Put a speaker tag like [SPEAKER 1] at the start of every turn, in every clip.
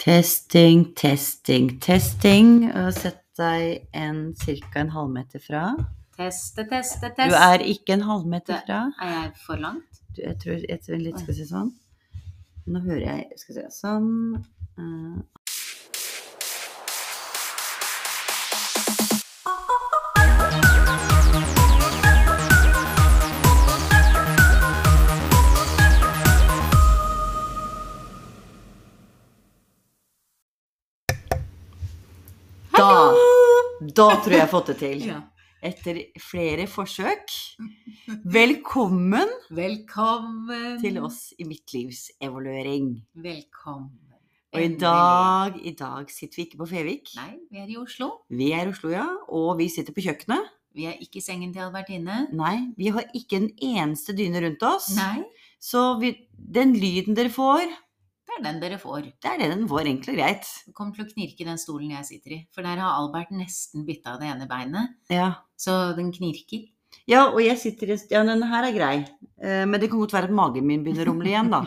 [SPEAKER 1] Testing, testing, testing. Og sett deg en, cirka en halvmeter fra.
[SPEAKER 2] Teste, teste,
[SPEAKER 1] Du
[SPEAKER 2] test.
[SPEAKER 1] er ikke en halvmeter
[SPEAKER 2] Det-
[SPEAKER 1] fra.
[SPEAKER 2] Er jeg for langt?
[SPEAKER 1] Du, jeg tror jeg tror litt skal jeg si sånn. Nå hører jeg Skal vi se Sånn. eh. Da, da tror jeg jeg har fått det til. Etter flere forsøk. Velkommen
[SPEAKER 2] Velkommen.
[SPEAKER 1] til oss i midtlivsevaluering.
[SPEAKER 2] Velkommen.
[SPEAKER 1] Og i
[SPEAKER 2] Endelig.
[SPEAKER 1] dag, i dag sitter vi ikke på Fevik.
[SPEAKER 2] Nei, vi er i Oslo.
[SPEAKER 1] Vi er i Oslo, ja. Og vi sitter på kjøkkenet.
[SPEAKER 2] Vi er ikke i sengen til Albertine.
[SPEAKER 1] Nei, vi har ikke en eneste dyne rundt oss.
[SPEAKER 2] Nei,
[SPEAKER 1] Så vi, den lyden dere får,
[SPEAKER 2] det er den dere får.
[SPEAKER 1] det er det den får egentlig greit.
[SPEAKER 2] Kom til å knirke i den stolen jeg sitter i. For der har Albert nesten bytta det ene beinet.
[SPEAKER 1] Ja.
[SPEAKER 2] Så den knirker.
[SPEAKER 1] ja, og jeg sitter i en st- Ja, den her er grei. Eh, Men det kan godt være at magen min begynner å rumle igjen, da.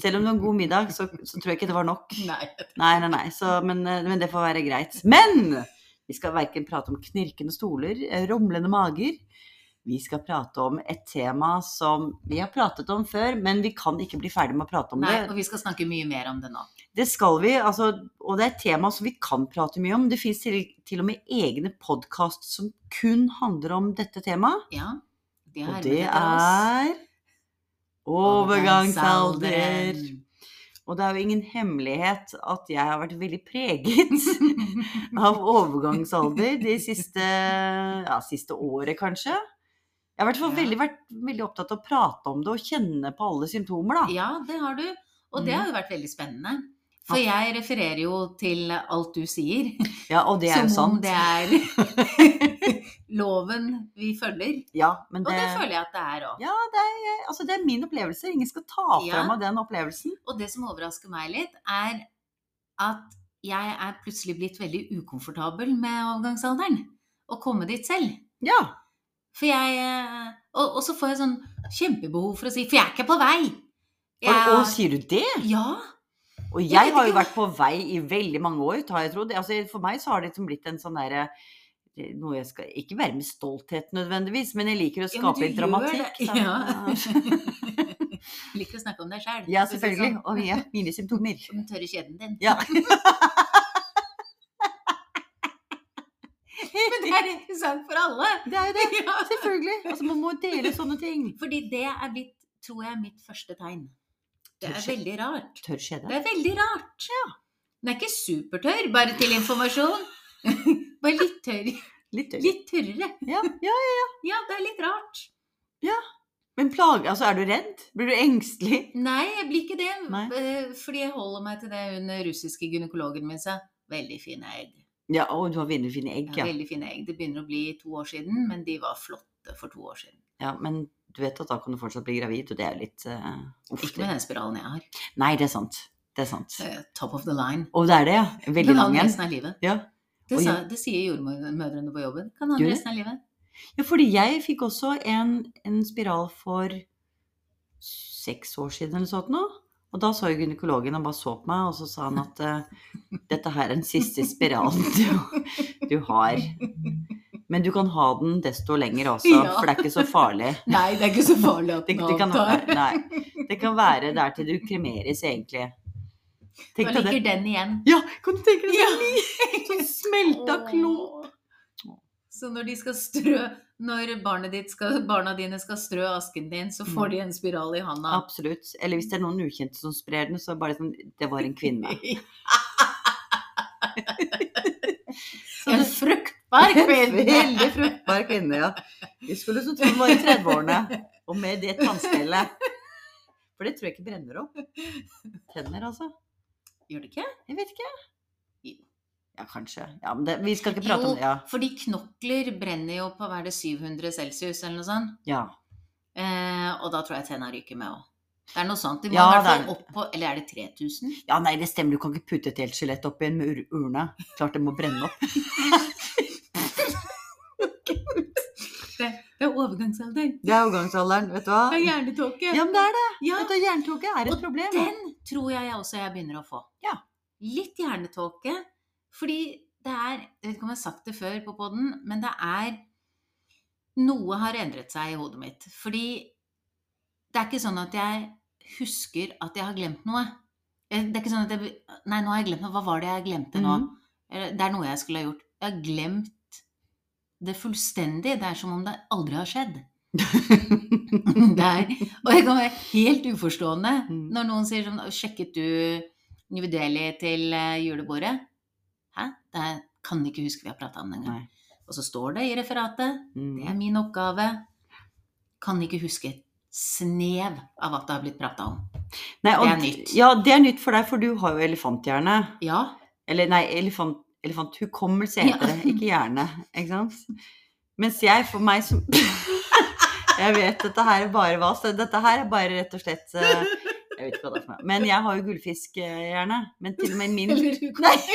[SPEAKER 1] Selv om det var en god middag, så, så tror jeg ikke det var nok.
[SPEAKER 2] Nei.
[SPEAKER 1] Nei, nei, nei. Så, men, eh, men det får være greit. Men vi skal verken prate om knirkende stoler, eh, rumlende mager. Vi skal prate om et tema som vi har pratet om før, men vi kan ikke bli ferdig med å prate om
[SPEAKER 2] Nei,
[SPEAKER 1] det.
[SPEAKER 2] og vi skal snakke mye mer om det nå.
[SPEAKER 1] Det skal vi, altså, og det er et tema som vi kan prate mye om. Det fins til, til og med egne podkast som kun handler om dette temaet.
[SPEAKER 2] Ja. Det
[SPEAKER 1] Og
[SPEAKER 2] er
[SPEAKER 1] det er Overgangsalderen. Og det er jo ingen hemmelighet at jeg har vært veldig preget av overgangsalder de siste, ja, siste året, kanskje. Jeg har i hvert fall
[SPEAKER 2] Ja.
[SPEAKER 1] veldig, vært veldig opptatt av å prate om det og kjenne på alle symptomer, da.
[SPEAKER 2] Ja, det har du. Og det
[SPEAKER 1] Mhm.
[SPEAKER 2] har jo vært veldig spennende. For jeg refererer jo til alt du sier.
[SPEAKER 1] Ja, og det er jo
[SPEAKER 2] som om
[SPEAKER 1] sant.
[SPEAKER 2] det er loven vi følger.
[SPEAKER 1] Ja, men
[SPEAKER 2] Og
[SPEAKER 1] det,
[SPEAKER 2] det føler jeg at det er òg.
[SPEAKER 1] Ja, det er, altså, det er min opplevelse. Ingen skal ta fra
[SPEAKER 2] Ja.
[SPEAKER 1] meg den opplevelsen.
[SPEAKER 2] Og det som overrasker meg litt, er at jeg er plutselig blitt veldig ukomfortabel med overgangsalderen. Å komme dit selv.
[SPEAKER 1] Ja.
[SPEAKER 2] For jeg eh, Og, og så får jeg sånn kjempebehov for å si For jeg er ikke på vei!
[SPEAKER 1] Og, og
[SPEAKER 2] Jeg,
[SPEAKER 1] sier du det?
[SPEAKER 2] ja.
[SPEAKER 1] Og jeg,
[SPEAKER 2] Jeg vet
[SPEAKER 1] har jo
[SPEAKER 2] ikke hva-
[SPEAKER 1] vært på vei i veldig mange år, har jeg trodd. Altså, for meg så har det liksom blitt en sånn derre eh, noe jeg skal Ikke være med stolthet nødvendigvis, men jeg liker å
[SPEAKER 2] Ja, men
[SPEAKER 1] skape litt
[SPEAKER 2] du gjør
[SPEAKER 1] dramatikk.
[SPEAKER 2] det.
[SPEAKER 1] da.
[SPEAKER 2] Ja. Liker å snakke om deg sjæl.
[SPEAKER 1] Ja, selvfølgelig. Og ja, mine symptomer.
[SPEAKER 2] Den tørre kjeden din.
[SPEAKER 1] Ja.
[SPEAKER 2] Men det er interessant for alle!
[SPEAKER 1] Det er jo det.
[SPEAKER 2] Ja.
[SPEAKER 1] Selvfølgelig. Altså, man må dele sånne ting.
[SPEAKER 2] Fordi det er blitt, tror jeg, mitt første tegn. Det er
[SPEAKER 1] Tørr skje-
[SPEAKER 2] veldig rart.
[SPEAKER 1] Tørr skjede.
[SPEAKER 2] Det er veldig rart. Den er ikke supertørr, bare til informasjon. Bare litt tørr.
[SPEAKER 1] Litt tørr.
[SPEAKER 2] Litt tørrere.
[SPEAKER 1] Ja, ja.
[SPEAKER 2] Ja, det er litt rart.
[SPEAKER 1] Men plage, altså, er du redd? Blir du engstelig?
[SPEAKER 2] Nei, jeg blir ikke det.
[SPEAKER 1] Nei.
[SPEAKER 2] eh, Fordi jeg holder meg til det hun russiske gynekologen min sa. Veldig fine egg.
[SPEAKER 1] Ja, og du har veldig fine egg,
[SPEAKER 2] Ja,
[SPEAKER 1] ja.
[SPEAKER 2] veldig fine egg. Det begynner å bli to år siden, men de var flotte for to år siden.
[SPEAKER 1] ja. Men du vet at da kan du fortsatt bli gravid, og det er jo litt eh, uff,
[SPEAKER 2] Ikke
[SPEAKER 1] det-
[SPEAKER 2] med den spiralen jeg har.
[SPEAKER 1] Nei, det er sant. Det er sant.
[SPEAKER 2] Eh, Top of the line.
[SPEAKER 1] Og det er det, ja. Veldig
[SPEAKER 2] Kan ha
[SPEAKER 1] lang
[SPEAKER 2] den
[SPEAKER 1] en.
[SPEAKER 2] resten av livet.
[SPEAKER 1] Ja.
[SPEAKER 2] Det,
[SPEAKER 1] Og
[SPEAKER 2] sa, det sier jordmødrene på jobben. Kan ha
[SPEAKER 1] Gjør
[SPEAKER 2] den
[SPEAKER 1] det?
[SPEAKER 2] resten av livet.
[SPEAKER 1] ja, fordi jeg fikk også en, en spiral for seks år siden eller sånt nå. Og da så jo gynekologen, han bare så på meg, og så sa han at eh, dette her er den siste spiralen du, du har. Men du kan ha den desto lenger også,
[SPEAKER 2] Ja.
[SPEAKER 1] for det er ikke så farlig.
[SPEAKER 2] Nei, det er ikke så farlig at
[SPEAKER 1] Det, det, kan, nei, nei, det kan være der til du kremeres, egentlig.
[SPEAKER 2] Da
[SPEAKER 1] Tenk deg
[SPEAKER 2] ligger
[SPEAKER 1] det.
[SPEAKER 2] den igjen.
[SPEAKER 1] Ja, kan du tenke deg
[SPEAKER 2] Ja.
[SPEAKER 1] en sånn smelta klump?
[SPEAKER 2] Så når de skal strø Når barnet ditt skal, barna dine skal strø asken din, så får de en spiral i handa.
[SPEAKER 1] Absolutt. Eller hvis det er noen ukjente som sprer den, så er det bare sånn Det var en kvinne. Så
[SPEAKER 2] En
[SPEAKER 1] det-
[SPEAKER 2] fruktbar
[SPEAKER 1] En
[SPEAKER 2] kvinne!
[SPEAKER 1] veldig fruktbar kvinne, ja. Vi skulle så tro hun var i 30-årene, og med det tannstellet. For det tror jeg ikke brenner opp. Tenner, altså.
[SPEAKER 2] Gjør det ikke?
[SPEAKER 1] Jeg vet ikke.
[SPEAKER 2] Jo.
[SPEAKER 1] Ja, kanskje. Ja, men det, vi skal ikke prate om det. Ja.
[SPEAKER 2] fordi knokler brenner jo på hver det 700 celsius eller noe sånt.
[SPEAKER 1] ja.
[SPEAKER 2] Eh, og da tror jeg tenna ryker med òg. Det er noe sånt. De må
[SPEAKER 1] Ja,
[SPEAKER 2] i hvert
[SPEAKER 1] det
[SPEAKER 2] fall opp på Eller er det 3000?
[SPEAKER 1] Ja, nei, det stemmer. Du kan ikke putte et helt skjelett oppi en ur urne. Klart det må brenne opp.
[SPEAKER 2] Det er overgangsalder.
[SPEAKER 1] Det er overgangsalderen, vet du
[SPEAKER 2] Det er
[SPEAKER 1] hva.
[SPEAKER 2] hjernetåke.
[SPEAKER 1] Ja, men det er det.
[SPEAKER 2] Ja,
[SPEAKER 1] Vet du, Jerntåket er et
[SPEAKER 2] Og
[SPEAKER 1] problem.
[SPEAKER 2] den tror jeg også jeg begynner å få.
[SPEAKER 1] Ja.
[SPEAKER 2] Litt hjernetåke. Fordi det er Jeg vet ikke om jeg har sagt det før på poden, men det er Noe har endret seg i hodet mitt. Fordi det er ikke sånn at jeg husker at jeg har glemt noe. Jeg- Det er ikke sånn at jeg Nei, nå har jeg glemt noe. Hva var det jeg glemte nå?
[SPEAKER 1] Mhm.
[SPEAKER 2] Eller, Det er noe jeg skulle ha gjort. Jeg har glemt det fullstendig. Det er som om det aldri har skjedd. Det er, og jeg kan være helt uforstående
[SPEAKER 1] Mm.
[SPEAKER 2] når noen sier sånn Sjekket du New Delhi til eh, julebordet? Hæ? Det er, kan ikke huske vi har prata om det engang.
[SPEAKER 1] Nei.
[SPEAKER 2] Og så står det i referatet. Det
[SPEAKER 1] Mm.
[SPEAKER 2] er min oppgave. Kan ikke huske et snev av at det har blitt prata om.
[SPEAKER 1] Nei, og,
[SPEAKER 2] det er nytt.
[SPEAKER 1] Ja, det er nytt for deg, for du har jo elefanthjerne.
[SPEAKER 2] Ja.
[SPEAKER 1] Eller nei, elefant, elefanthukommelse heter
[SPEAKER 2] Ja.
[SPEAKER 1] det, ikke hjerne. Ikke sant? Mens jeg, for meg som Jeg vet dette her er bare hva, så dette her er bare rett og slett eh, Jeg vet ikke hva det er for noe. Men jeg har jo gullfiskhjerne. Men til og med min
[SPEAKER 2] Eller du
[SPEAKER 1] Nei!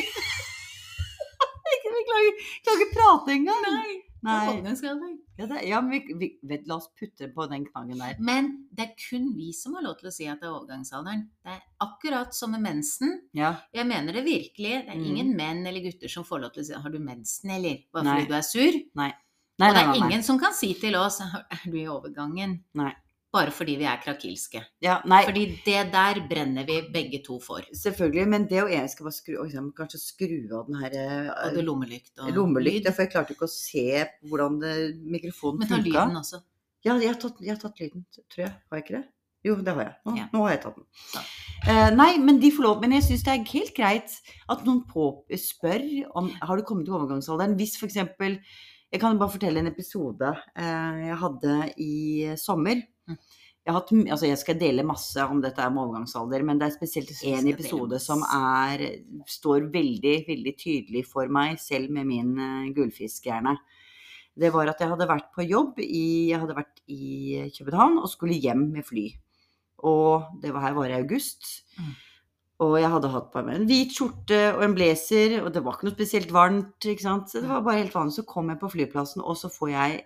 [SPEAKER 1] Ikke- vi klarer ikke- klarer ikke prate engang.
[SPEAKER 2] Nei.
[SPEAKER 1] Nei.
[SPEAKER 2] Kongen skal ha det.
[SPEAKER 1] Ja, det, ja, men vi, vi, vet, la oss putte på den knaggen der.
[SPEAKER 2] Men det er kun vi som har lov til å si at det er overgangsalderen. Det er akkurat som med mensen.
[SPEAKER 1] Ja.
[SPEAKER 2] Jeg mener det virkelig. Det er
[SPEAKER 1] Mm.
[SPEAKER 2] ingen menn eller gutter som får lov til å si 'har du mensen', eller? Bare
[SPEAKER 1] Nei.
[SPEAKER 2] fordi du er sur.
[SPEAKER 1] Nei,
[SPEAKER 2] og det
[SPEAKER 1] nei,
[SPEAKER 2] er
[SPEAKER 1] nei. nei.
[SPEAKER 2] ingen som kan si til oss 'er du i overgangen'?
[SPEAKER 1] Nei.
[SPEAKER 2] Bare fordi vi er krakilske.
[SPEAKER 1] Ja, nei.
[SPEAKER 2] Fordi det der brenner vi begge to for.
[SPEAKER 1] Selvfølgelig, men det og jeg skal bare skru, oi, jeg må kanskje skru av den her eh,
[SPEAKER 2] Både lommelykt og
[SPEAKER 1] lommelykta, for jeg klarte ikke å se hvordan det-
[SPEAKER 2] lyd.
[SPEAKER 1] mikrofonen
[SPEAKER 2] Men ta
[SPEAKER 1] funka.
[SPEAKER 2] lyden også.
[SPEAKER 1] Ja, jeg har, tatt, jeg har tatt lyden, tror jeg. Har jeg ikke det? Jo, det har jeg. Nå,
[SPEAKER 2] Ja.
[SPEAKER 1] nå har jeg tatt den.
[SPEAKER 2] Ja.
[SPEAKER 1] Eh, nei, men de får lov. Men jeg syns det er helt greit at noen på, eh, spør om har du kommet til overgangsalderen. Hvis f.eks. Jeg kan jo bare fortelle en episode eh, jeg hadde i sommer.
[SPEAKER 2] Mm.
[SPEAKER 1] Jeg, har hatt, m- altså jeg skal dele masse om dette her med overgangsalder, men det er spesielt
[SPEAKER 2] skal
[SPEAKER 1] én
[SPEAKER 2] dele
[SPEAKER 1] episode
[SPEAKER 2] masse.
[SPEAKER 1] som er, står veldig veldig tydelig for meg, selv med min uh, gullfiskhjerne. Det var at jeg hadde vært på jobb i, jeg hadde vært i København og skulle hjem med fly. Og det var her var i august.
[SPEAKER 2] Mm.
[SPEAKER 1] Og jeg hadde hatt på meg en hvit skjorte og en blazer, og det var ikke noe spesielt varmt. ikke sant? Så det var bare helt vanlig. Så kom jeg på flyplassen, og så får jeg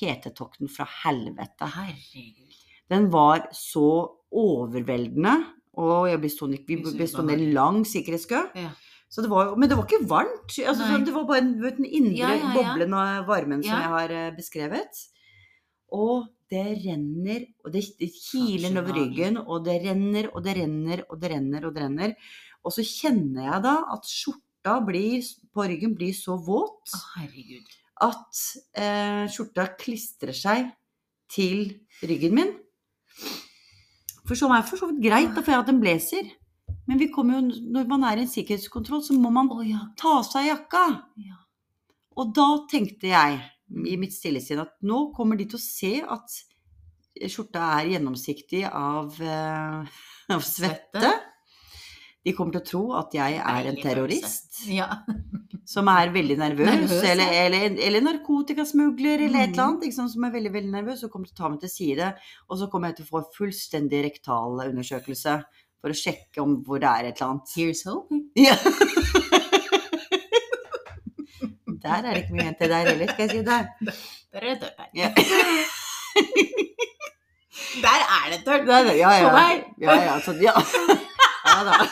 [SPEAKER 1] hetetokten fra helvete.
[SPEAKER 2] Herregud.
[SPEAKER 1] Den var så overveldende, og jeg ble stående, vi
[SPEAKER 2] Unnskyld,
[SPEAKER 1] ble stående
[SPEAKER 2] hva
[SPEAKER 1] i lang sikkerhetskø.
[SPEAKER 2] Ja.
[SPEAKER 1] Så det var, men det var ikke varmt. Altså,
[SPEAKER 2] Nei.
[SPEAKER 1] sånn, det var bare en- du vet, den indre
[SPEAKER 2] Ja, ja, ja.
[SPEAKER 1] boblen av varmen
[SPEAKER 2] Ja.
[SPEAKER 1] som jeg har eh, beskrevet. Og det renner, og det, det kiler
[SPEAKER 2] Kanskje
[SPEAKER 1] nedover
[SPEAKER 2] magen.
[SPEAKER 1] ryggen, og det renner, og det renner, og det renner, og det renner. Og så kjenner jeg da at skjorta blir, på ryggen blir så våt
[SPEAKER 2] Å, herregud.
[SPEAKER 1] at eh, skjorta klistrer seg til ryggen min. For så var det for så vidt greit, da, for jeg har hatt en blazer. Men vi kommer jo, når man er i en sikkerhetskontroll, så må man
[SPEAKER 2] Å ja.
[SPEAKER 1] ta av seg jakka.
[SPEAKER 2] Ja.
[SPEAKER 1] Og da tenkte jeg i mitt stille sinn at nå kommer de til å se at skjorta er gjennomsiktig av, eh, av svette. De kommer til å tro at jeg er en
[SPEAKER 2] Deilig
[SPEAKER 1] terrorist
[SPEAKER 2] Ja.
[SPEAKER 1] som er veldig nervøs,
[SPEAKER 2] Nervøs, ja.
[SPEAKER 1] eller, eller, eller narkotikasmugler eller et
[SPEAKER 2] Mhm.
[SPEAKER 1] eller annet, ikke sant, som er veldig veldig nervøs, og kommer til å ta meg til side. Og så kommer jeg til å få fullstendig rektal undersøkelse for å sjekke om hvor det er et eller annet.
[SPEAKER 2] Here's hoping.
[SPEAKER 1] Ja. Der er det ikke mye igjen til deg heller, skal jeg si deg.
[SPEAKER 2] Der er det tørt her.
[SPEAKER 1] Ja.
[SPEAKER 2] Der er det tørt!
[SPEAKER 1] Der, ja, ja.
[SPEAKER 2] På vei.
[SPEAKER 1] Ja, ja, så, ja. ja da.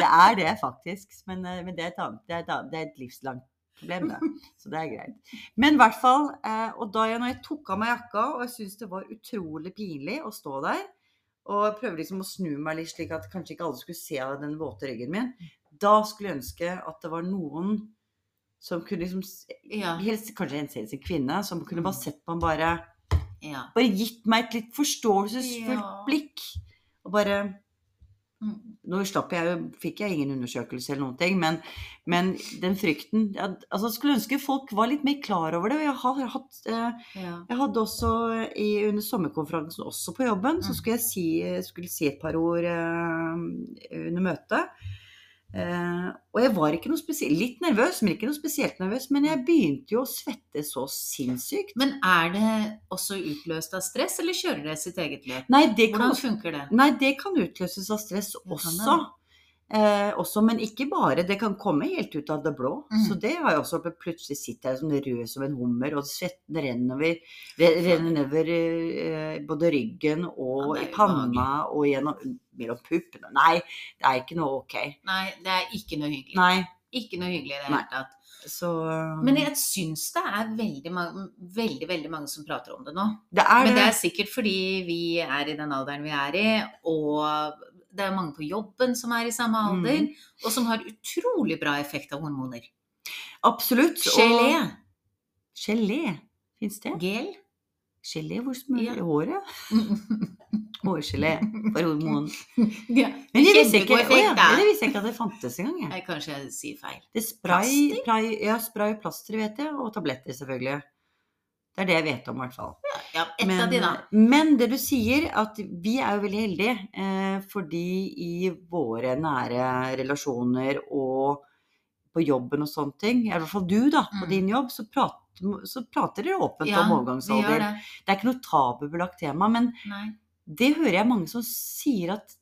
[SPEAKER 1] Det er det faktisk, men, eh, men det, er et annet, det, er et annet, det er et livslangt problem, det. Så det er greit. Men i hvert fall, eh, og da jeg, når jeg tok av meg jakka, og jeg syntes det var utrolig pinlig å stå der, og jeg prøvde liksom å snu meg litt slik at kanskje ikke alle skulle se av den våte ryggen min, da skulle jeg ønske at det var noen som kunne liksom, s-
[SPEAKER 2] Ja.
[SPEAKER 1] helst kanskje en seriøs kvinne, som kunne
[SPEAKER 2] Mm.
[SPEAKER 1] bare sett på ham bare
[SPEAKER 2] ja.
[SPEAKER 1] bare gitt meg et litt forståelsesfullt
[SPEAKER 2] Ja.
[SPEAKER 1] blikk. Og bare
[SPEAKER 2] Mm.
[SPEAKER 1] Nå slapp jeg jo, fikk jeg ingen undersøkelse eller noen ting, men, men den frykten ja, Altså, jeg skulle ønske folk var litt mer klar over det. og Jeg, har hatt, eh,
[SPEAKER 2] ja.
[SPEAKER 1] jeg hadde også i, under sommerkonferansen, også på jobben, så
[SPEAKER 2] Mm.
[SPEAKER 1] skulle jeg si, skulle si et par ord eh, under møtet. Eh, og jeg var ikke noe spesielt, litt nervøs, men ikke noe spesielt nervøs. Men jeg begynte jo å svette så sinnssykt.
[SPEAKER 2] Men er det også utløst av stress, eller kjører det sitt eget løp?
[SPEAKER 1] Nei, det kan
[SPEAKER 2] Hvordan funker det?
[SPEAKER 1] Nei, det kan utløses av stress
[SPEAKER 2] kan det.
[SPEAKER 1] også. Eh, også, men ikke bare. Det kan komme helt ut av det blå.
[SPEAKER 2] Mm.
[SPEAKER 1] Så det har jeg også opplevd. Plutselig sitter jeg som rød som en hummer, og svetten renner, over- re- renner nedover eh, både ryggen og
[SPEAKER 2] Ja, det er
[SPEAKER 1] i panna og gjennom mellom puppene. Nei, det er ikke noe ok.
[SPEAKER 2] Nei, det er ikke noe hyggelig.
[SPEAKER 1] Nei,
[SPEAKER 2] Ikke noe hyggelig i det
[SPEAKER 1] Nei.
[SPEAKER 2] hele tatt.
[SPEAKER 1] så
[SPEAKER 2] Men jeg syns det er veldig mange, veldig, veldig mange som prater om det nå.
[SPEAKER 1] det er
[SPEAKER 2] Men det
[SPEAKER 1] det.
[SPEAKER 2] er sikkert fordi vi er i den alderen vi er i, og det er mange på jobben som er i samme
[SPEAKER 1] Mm.
[SPEAKER 2] alder, og som har utrolig bra effekt av hormoner.
[SPEAKER 1] Absolutt. og-
[SPEAKER 2] Gelé,
[SPEAKER 1] Gelé. Fins det?
[SPEAKER 2] E. gel.
[SPEAKER 1] Gelé hvor smører
[SPEAKER 2] Ja.
[SPEAKER 1] i håret? Hårgelé for hormon.
[SPEAKER 2] ja,
[SPEAKER 1] Men jeg visste ikke, å
[SPEAKER 2] kjempegod
[SPEAKER 1] ja,
[SPEAKER 2] effekt, da.
[SPEAKER 1] men jeg visste ikke at det fantes engang. jeg.
[SPEAKER 2] Nei, kanskje jeg sier feil.
[SPEAKER 1] Det er spray,
[SPEAKER 2] Plaster?
[SPEAKER 1] spray, ja, spray og plaster, vet jeg, og tabletter, selvfølgelig. Det er det jeg vet om, i hvert fall.
[SPEAKER 2] Ja, ett
[SPEAKER 1] Men, eh,
[SPEAKER 2] av de, da.
[SPEAKER 1] men det du sier, at vi er jo veldig heldige, eh, fordi i våre nære relasjoner og på jobben og sånne ting, i hvert fall du, da, på
[SPEAKER 2] Mm.
[SPEAKER 1] din jobb, så prater, så prater dere åpent
[SPEAKER 2] Ja,
[SPEAKER 1] om
[SPEAKER 2] vi gjør
[SPEAKER 1] overgangsalder.
[SPEAKER 2] det.
[SPEAKER 1] Det. er ikke noe tabubelagt tema, men
[SPEAKER 2] Nei.
[SPEAKER 1] det hører jeg mange som sier at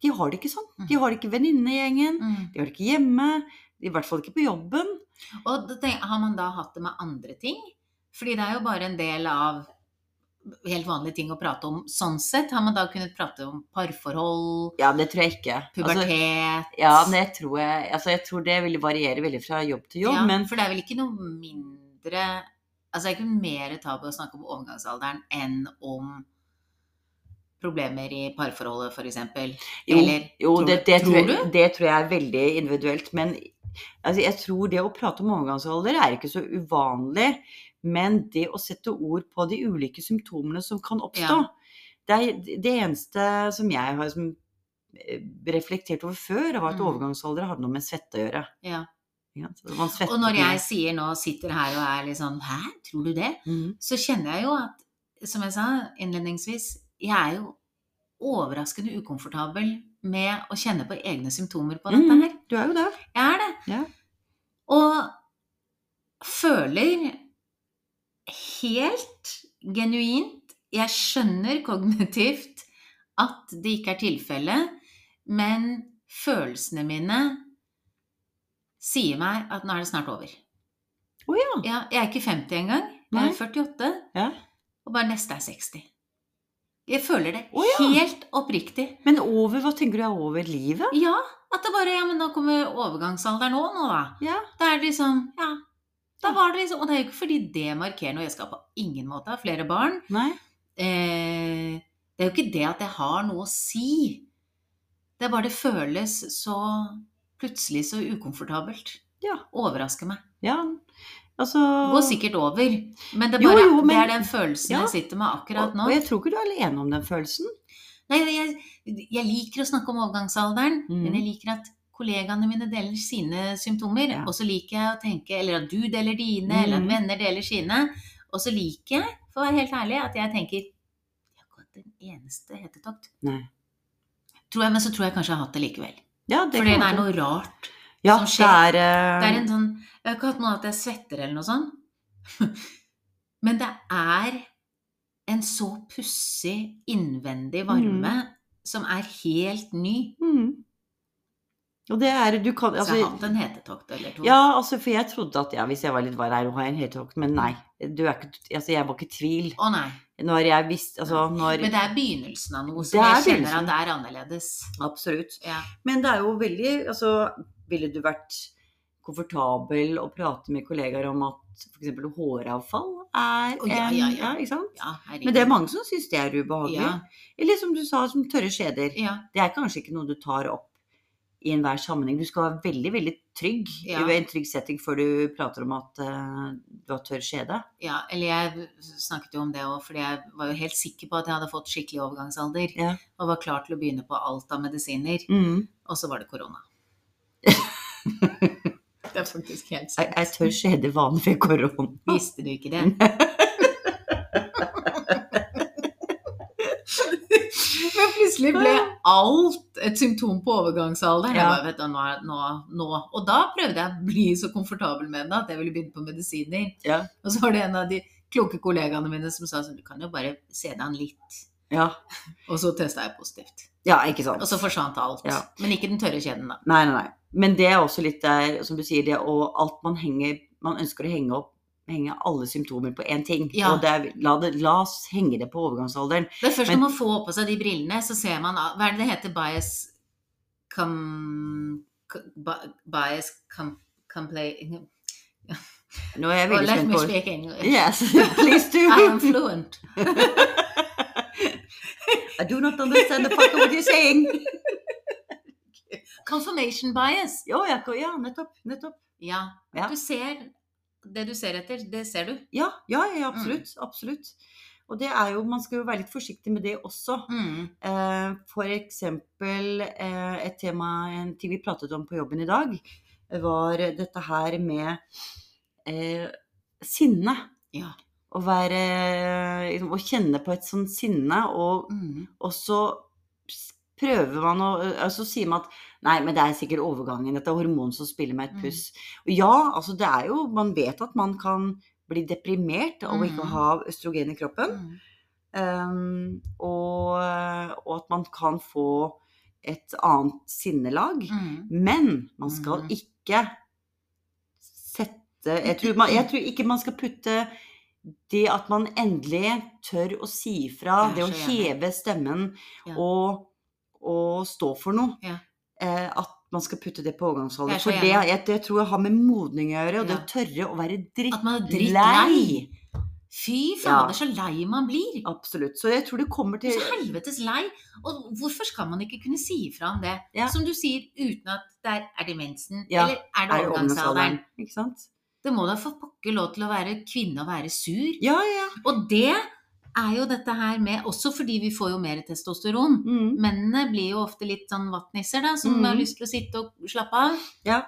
[SPEAKER 1] de har det ikke sånn.
[SPEAKER 2] Mm.
[SPEAKER 1] De har det ikke i venninnegjengen,
[SPEAKER 2] Mm.
[SPEAKER 1] de har det ikke hjemme, i hvert fall ikke på jobben.
[SPEAKER 2] Og da tenk- har man da hatt det med andre ting? Fordi det er jo bare en del av helt vanlige ting å prate om. Sånn sett har man da kunnet prate om parforhold,
[SPEAKER 1] Ja, det tror jeg ikke. Altså,
[SPEAKER 2] pubertet
[SPEAKER 1] ja, men jeg tror, jeg, altså, jeg tror det vil variere veldig fra jobb til jobb.
[SPEAKER 2] Ja,
[SPEAKER 1] men
[SPEAKER 2] For det er vel ikke noe mindre Altså det er ikke mer tabu å snakke om overgangsalderen enn om problemer i parforholdet, f.eks.
[SPEAKER 1] jo,
[SPEAKER 2] Eller
[SPEAKER 1] jo
[SPEAKER 2] tror
[SPEAKER 1] det,
[SPEAKER 2] du-
[SPEAKER 1] det, tror
[SPEAKER 2] tror
[SPEAKER 1] jeg,
[SPEAKER 2] du?
[SPEAKER 1] det tror jeg er veldig individuelt. Men altså, jeg tror det å prate om overgangsalder er ikke så uvanlig. Men det å sette ord på de ulike symptomene som kan oppstå
[SPEAKER 2] Ja.
[SPEAKER 1] Det, er, det eneste som jeg har som eh, reflektert over før, var at
[SPEAKER 2] Mm.
[SPEAKER 1] overgangsalder hadde noe med svette å gjøre.
[SPEAKER 2] Ja.
[SPEAKER 1] Ikke sant? Så man
[SPEAKER 2] Og
[SPEAKER 1] svettet mye.
[SPEAKER 2] når jeg sier nå, sitter her og er litt sånn Hæ, tror du det?
[SPEAKER 1] Mhm.
[SPEAKER 2] så kjenner jeg jo at, som jeg sa innledningsvis, jeg er jo overraskende ukomfortabel med å kjenne på egne symptomer på dette
[SPEAKER 1] Mhm,
[SPEAKER 2] her.
[SPEAKER 1] Du er jo det.
[SPEAKER 2] Jeg er det.
[SPEAKER 1] Ja.
[SPEAKER 2] Og føler helt genuint Jeg skjønner kognitivt at det ikke er tilfellet, men følelsene mine sier meg at nå er det snart over.
[SPEAKER 1] Å ja.
[SPEAKER 2] Ja, jeg er ikke 50 engang. Jeg
[SPEAKER 1] Nei.
[SPEAKER 2] er 48.
[SPEAKER 1] Ja.
[SPEAKER 2] Og bare neste er 60. Jeg føler det
[SPEAKER 1] Å, ja.
[SPEAKER 2] helt oppriktig.
[SPEAKER 1] Men over, hva tenker du er over livet?
[SPEAKER 2] Ja, at det bare Ja, men nå kommer overgangsalderen òg, nå, da.
[SPEAKER 1] Ja.
[SPEAKER 2] Da er det liksom Ja. Da var det liksom Og det er jo ikke fordi det markerer noe. Jeg skal på ingen måte ha flere barn.
[SPEAKER 1] Nei?
[SPEAKER 2] Eh, det er jo ikke det at jeg har noe å si. Det er bare det føles så plutselig så ukomfortabelt.
[SPEAKER 1] Ja.
[SPEAKER 2] Overrasker meg.
[SPEAKER 1] Ja. Altså
[SPEAKER 2] Går sikkert over. Men det, er
[SPEAKER 1] Jo,
[SPEAKER 2] bare,
[SPEAKER 1] jo, men-
[SPEAKER 2] det er den følelsen
[SPEAKER 1] Ja.
[SPEAKER 2] jeg sitter med akkurat nå.
[SPEAKER 1] Og jeg tror ikke du er alene om den følelsen.
[SPEAKER 2] Nei, jeg, jeg liker å snakke om overgangsalderen,
[SPEAKER 1] Mm.
[SPEAKER 2] men jeg liker at kollegaene mine deler sine symptomer.
[SPEAKER 1] Ja.
[SPEAKER 2] Og så liker jeg å tenke, eller at du deler dine,
[SPEAKER 1] Mm.
[SPEAKER 2] eller at venner deler sine. Og så liker jeg, for å være helt ærlig, at jeg tenker Jeg har ikke hatt en eneste hetetokt.
[SPEAKER 1] Nei.
[SPEAKER 2] Tror jeg, men så tror jeg kanskje jeg har hatt det likevel.
[SPEAKER 1] Ja, det
[SPEAKER 2] Fordi
[SPEAKER 1] kan
[SPEAKER 2] det
[SPEAKER 1] være.
[SPEAKER 2] er noe rart.
[SPEAKER 1] ja,
[SPEAKER 2] som skjer.
[SPEAKER 1] Det er, eh,
[SPEAKER 2] Det er en sånn Jeg har ikke hatt noe at jeg svetter eller noe sånt. Men det er en så pussig innvendig varme som er helt ny.
[SPEAKER 1] mm. Og det er Du kan
[SPEAKER 2] så jeg
[SPEAKER 1] altså,
[SPEAKER 2] har hatt en hetetokt eller to.
[SPEAKER 1] Ja, altså, for jeg trodde at ja, hvis jeg var litt var her og har en hetetokt, men nei. Du er ikke, altså, jeg var ikke i tvil.
[SPEAKER 2] Å nei.
[SPEAKER 1] Når jeg visste Altså, når
[SPEAKER 2] Men det er begynnelsen av noe
[SPEAKER 1] Det
[SPEAKER 2] som jeg
[SPEAKER 1] er
[SPEAKER 2] kjenner
[SPEAKER 1] begynnelsen.
[SPEAKER 2] at det er annerledes.
[SPEAKER 1] Absolutt.
[SPEAKER 2] Ja.
[SPEAKER 1] Men det er jo veldig Altså, ville du vært komfortabel å prate med kollegaer om at f.eks. håravfall er
[SPEAKER 2] Å, ja, ja,
[SPEAKER 1] en-
[SPEAKER 2] ja.
[SPEAKER 1] ikke sant?
[SPEAKER 2] Ja, herregud.
[SPEAKER 1] Men det er mange som syns det er ubehagelig.
[SPEAKER 2] Ja,
[SPEAKER 1] Eller som du sa, som tørre skjeder.
[SPEAKER 2] ja.
[SPEAKER 1] Det er kanskje ikke noe du tar opp i enhver sammenheng. Du skal være veldig veldig trygg
[SPEAKER 2] Ja.
[SPEAKER 1] i en trygg setting før du prater om at eh, du har tørr skjede.
[SPEAKER 2] Ja, eller jeg snakket jo om det òg, fordi jeg var jo helt sikker på at jeg hadde fått skikkelig overgangsalder.
[SPEAKER 1] Ja.
[SPEAKER 2] Og var klar til å begynne på alt av medisiner. Og så var det korona. det er faktisk helt
[SPEAKER 1] Er,
[SPEAKER 2] sant.
[SPEAKER 1] er tørr skjede vanlig ved korona?
[SPEAKER 2] Visste du ikke det? Men plutselig ble alt et symptom på overgangsalder. Jeg
[SPEAKER 1] Ja.
[SPEAKER 2] bare, vet du, nå, er- nå, nå. Og da prøvde jeg å bli så komfortabel med det at jeg ville begynne på medisiner.
[SPEAKER 1] Ja.
[SPEAKER 2] Og så var det en av de kloke kollegaene mine som sa sånn, du kan jo bare se deg an litt.
[SPEAKER 1] Ja.
[SPEAKER 2] Og så testa jeg positivt.
[SPEAKER 1] ja, ikke sant.
[SPEAKER 2] Og så forsvant alt.
[SPEAKER 1] Ja.
[SPEAKER 2] Men ikke den tørre kjeden, da.
[SPEAKER 1] Nei, nei, nei. Men det er også litt der, som du sier, det og alt man henger Man ønsker å henge opp henge alle symptomer på én ting.
[SPEAKER 2] Ja.
[SPEAKER 1] Og det er, la, det, la oss henge det på overgangsalderen.
[SPEAKER 2] Det er først
[SPEAKER 1] Men-
[SPEAKER 2] når man får på seg de brillene, så ser man at- Hva er det det heter? Bias com... co- ba- Bias com... Complain...
[SPEAKER 1] Nå er jeg
[SPEAKER 2] Oh,
[SPEAKER 1] veldig
[SPEAKER 2] let
[SPEAKER 1] spent
[SPEAKER 2] me
[SPEAKER 1] på
[SPEAKER 2] speak English.
[SPEAKER 1] Yes, please do.
[SPEAKER 2] I am fluent.
[SPEAKER 1] I do not understand the fuck what you're saying.
[SPEAKER 2] Confirmation bias.
[SPEAKER 1] Jo, ja, ko- ja, nettopp. nettopp.
[SPEAKER 2] Ja.
[SPEAKER 1] Ja.
[SPEAKER 2] Du ser det du ser etter, det ser du.
[SPEAKER 1] Ja, ja, ja, absolutt. Absolutt. Og det er jo, man skal jo være litt forsiktig med det også.
[SPEAKER 2] Mm.
[SPEAKER 1] Eh, for eksempel eh, et tema en ting vi pratet om på jobben i dag, var dette her med eh, sinne.
[SPEAKER 2] Ja.
[SPEAKER 1] Å være liksom, Å kjenne på et sånt sinne, og,
[SPEAKER 2] Mm.
[SPEAKER 1] og så s- prøver man å Og så sier man at Nei, men det er sikkert overgangen. Dette er hormon som spiller meg et
[SPEAKER 2] Mm.
[SPEAKER 1] puss. Og ja, altså det er jo Man vet at man kan bli deprimert av å ikke
[SPEAKER 2] Mm.
[SPEAKER 1] ha østrogen i kroppen.
[SPEAKER 2] Mm.
[SPEAKER 1] Um, og, og at man kan få et annet sinnelag.
[SPEAKER 2] Mm.
[SPEAKER 1] Men man skal
[SPEAKER 2] Mhm.
[SPEAKER 1] ikke sette jeg tror, man, jeg tror ikke man skal putte det at man endelig tør å si fra,
[SPEAKER 2] Jeg
[SPEAKER 1] det
[SPEAKER 2] er
[SPEAKER 1] å
[SPEAKER 2] så enig.
[SPEAKER 1] heve stemmen
[SPEAKER 2] Ja.
[SPEAKER 1] og, og stå for noe,
[SPEAKER 2] Ja.
[SPEAKER 1] eh, at man skal putte det på
[SPEAKER 2] Jeg er
[SPEAKER 1] overgangsalderen.
[SPEAKER 2] så
[SPEAKER 1] For det,
[SPEAKER 2] enig.
[SPEAKER 1] jeg, det tror jeg har med modning å gjøre, og det
[SPEAKER 2] Ja.
[SPEAKER 1] å tørre å være
[SPEAKER 2] At man er
[SPEAKER 1] drittlei.
[SPEAKER 2] drittlei. Fy fader, så lei man blir.
[SPEAKER 1] Absolutt. Så jeg tror det kommer
[SPEAKER 2] Du er
[SPEAKER 1] til
[SPEAKER 2] så helvetes lei. Og hvorfor skal man ikke kunne si ifra om det?
[SPEAKER 1] Ja.
[SPEAKER 2] Som du sier, uten at det er, er demensen,
[SPEAKER 1] Ja.
[SPEAKER 2] eller er det
[SPEAKER 1] er det
[SPEAKER 2] overgangsalderen?
[SPEAKER 1] overgangsalderen. Ikke sant?
[SPEAKER 2] Det må da for pokker lov til å være kvinne og være sur.
[SPEAKER 1] Ja, ja.
[SPEAKER 2] Og det er jo dette her med Også fordi vi får jo mer testosteron.
[SPEAKER 1] Mm.
[SPEAKER 2] Mennene blir jo ofte litt sånn vattnisser, da, som
[SPEAKER 1] Mhm.
[SPEAKER 2] har lyst til å sitte og slappe av.
[SPEAKER 1] Ja.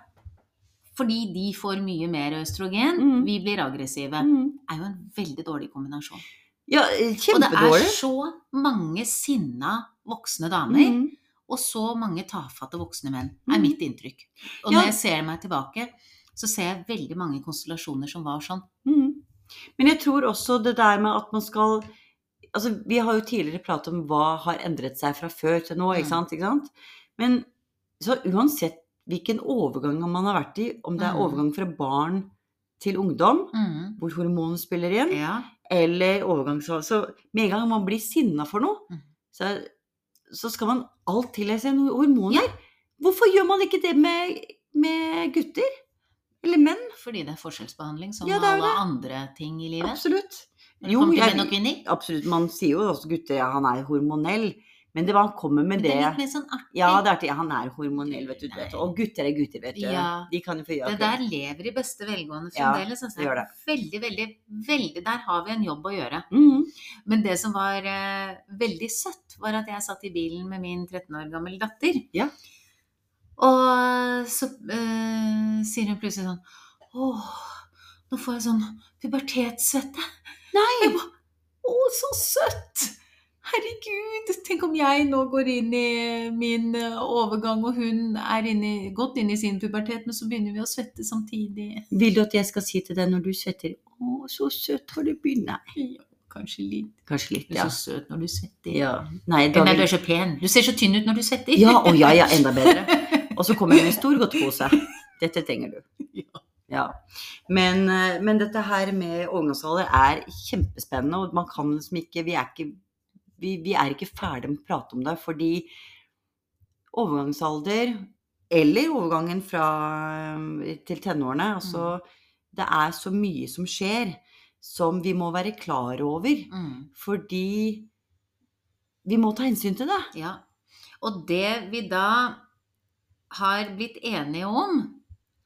[SPEAKER 2] Fordi de får mye mer østrogen.
[SPEAKER 1] Mhm.
[SPEAKER 2] Vi blir aggressive.
[SPEAKER 1] Mm.
[SPEAKER 2] Det er jo en veldig dårlig kombinasjon.
[SPEAKER 1] ja eh,
[SPEAKER 2] Og det er
[SPEAKER 1] kjempedårlig.
[SPEAKER 2] så mange sinna voksne damer,
[SPEAKER 1] Mm.
[SPEAKER 2] og så mange tafatte voksne menn,
[SPEAKER 1] Mhm.
[SPEAKER 2] er mitt inntrykk. Og
[SPEAKER 1] Ja.
[SPEAKER 2] når jeg ser meg tilbake, så ser jeg veldig mange konstellasjoner som var sånn.
[SPEAKER 1] Mm. Men jeg tror også det der med at man skal Altså, vi har jo tidligere pratet om hva har endret seg fra før til nå,
[SPEAKER 2] Mm.
[SPEAKER 1] ikke sant? Ikke sant? Men så uansett hvilken overgang man har vært i, om det er
[SPEAKER 2] Mm.
[SPEAKER 1] overgang fra barn til ungdom,
[SPEAKER 2] Mhm.
[SPEAKER 1] hvor hormonene spiller inn,
[SPEAKER 2] Ja.
[SPEAKER 1] eller overgang så, så med en gang man blir sinna for noe,
[SPEAKER 2] Mm.
[SPEAKER 1] så, så skal man alt tillegge noen hormoner. Hvorfor gjør man ikke det med, med gutter? Eller menn?
[SPEAKER 2] Fordi det er forskjellsbehandling, som
[SPEAKER 1] Ja, det er jo
[SPEAKER 2] alle andre ting i livet.
[SPEAKER 1] Absolutt.
[SPEAKER 2] Når det
[SPEAKER 1] Jo,
[SPEAKER 2] kommer til
[SPEAKER 1] jeg-
[SPEAKER 2] menn og kvinner.
[SPEAKER 1] Absolutt. Man sier jo også gutter ja, han er hormonell, men det man kommer
[SPEAKER 2] Men
[SPEAKER 1] med
[SPEAKER 2] det
[SPEAKER 1] det
[SPEAKER 2] er litt mer sånn artig.
[SPEAKER 1] Ja, det er til, ja, han er hormonell, vet du. du Vet. du. Og gutter er gutter, vet du.
[SPEAKER 2] Ja.
[SPEAKER 1] De kan jo få gjøre
[SPEAKER 2] Det der lever i beste velgående
[SPEAKER 1] Ja,
[SPEAKER 2] fremdeles. altså.
[SPEAKER 1] det gjør det.
[SPEAKER 2] Veldig, veldig, veldig Der har vi en jobb å gjøre.
[SPEAKER 1] Mhm.
[SPEAKER 2] Men det som var eh, veldig søtt, var at jeg satt i bilen med min 13 år gamle datter.
[SPEAKER 1] Ja.
[SPEAKER 2] Og så eh, sier hun plutselig sånn Åh, nå får jeg sånn pubertetssvette.
[SPEAKER 1] Nei!
[SPEAKER 2] Jeg ba, Å, så søtt! Herregud, tenk om jeg nå går inn i min eh, overgang, og hun er inne, i- godt inne i sin pubertet, men så begynner vi å svette samtidig.
[SPEAKER 1] Vil du at jeg skal si til deg når du svetter Å, så søtt har du begynt. Nei,
[SPEAKER 2] Ja, kanskje litt.
[SPEAKER 1] kanskje litt,
[SPEAKER 2] Du er
[SPEAKER 1] ja.
[SPEAKER 2] så søt når du svetter.
[SPEAKER 1] ja. Nei, da
[SPEAKER 2] Nei, du er så pen. Du ser så tynn ut når du svetter.
[SPEAKER 1] Ja, å ja, ja, enda bedre. Og så kommer jeg med en stor godtepose. Dette trenger du.
[SPEAKER 2] Ja.
[SPEAKER 1] Ja. Men, eh, men dette her med overgangsalder er kjempespennende, og man kan liksom ikke Vi er ikke, vi, vi er ikke ferdig med å prate om det, fordi overgangsalder, eller overgangen fra, eh, til tenårene, altså
[SPEAKER 2] Mm.
[SPEAKER 1] Det er så mye som skjer som vi må være klar over,
[SPEAKER 2] Mm,
[SPEAKER 1] fordi vi må ta hensyn til det.
[SPEAKER 2] ja. Og det vi da har blitt enige om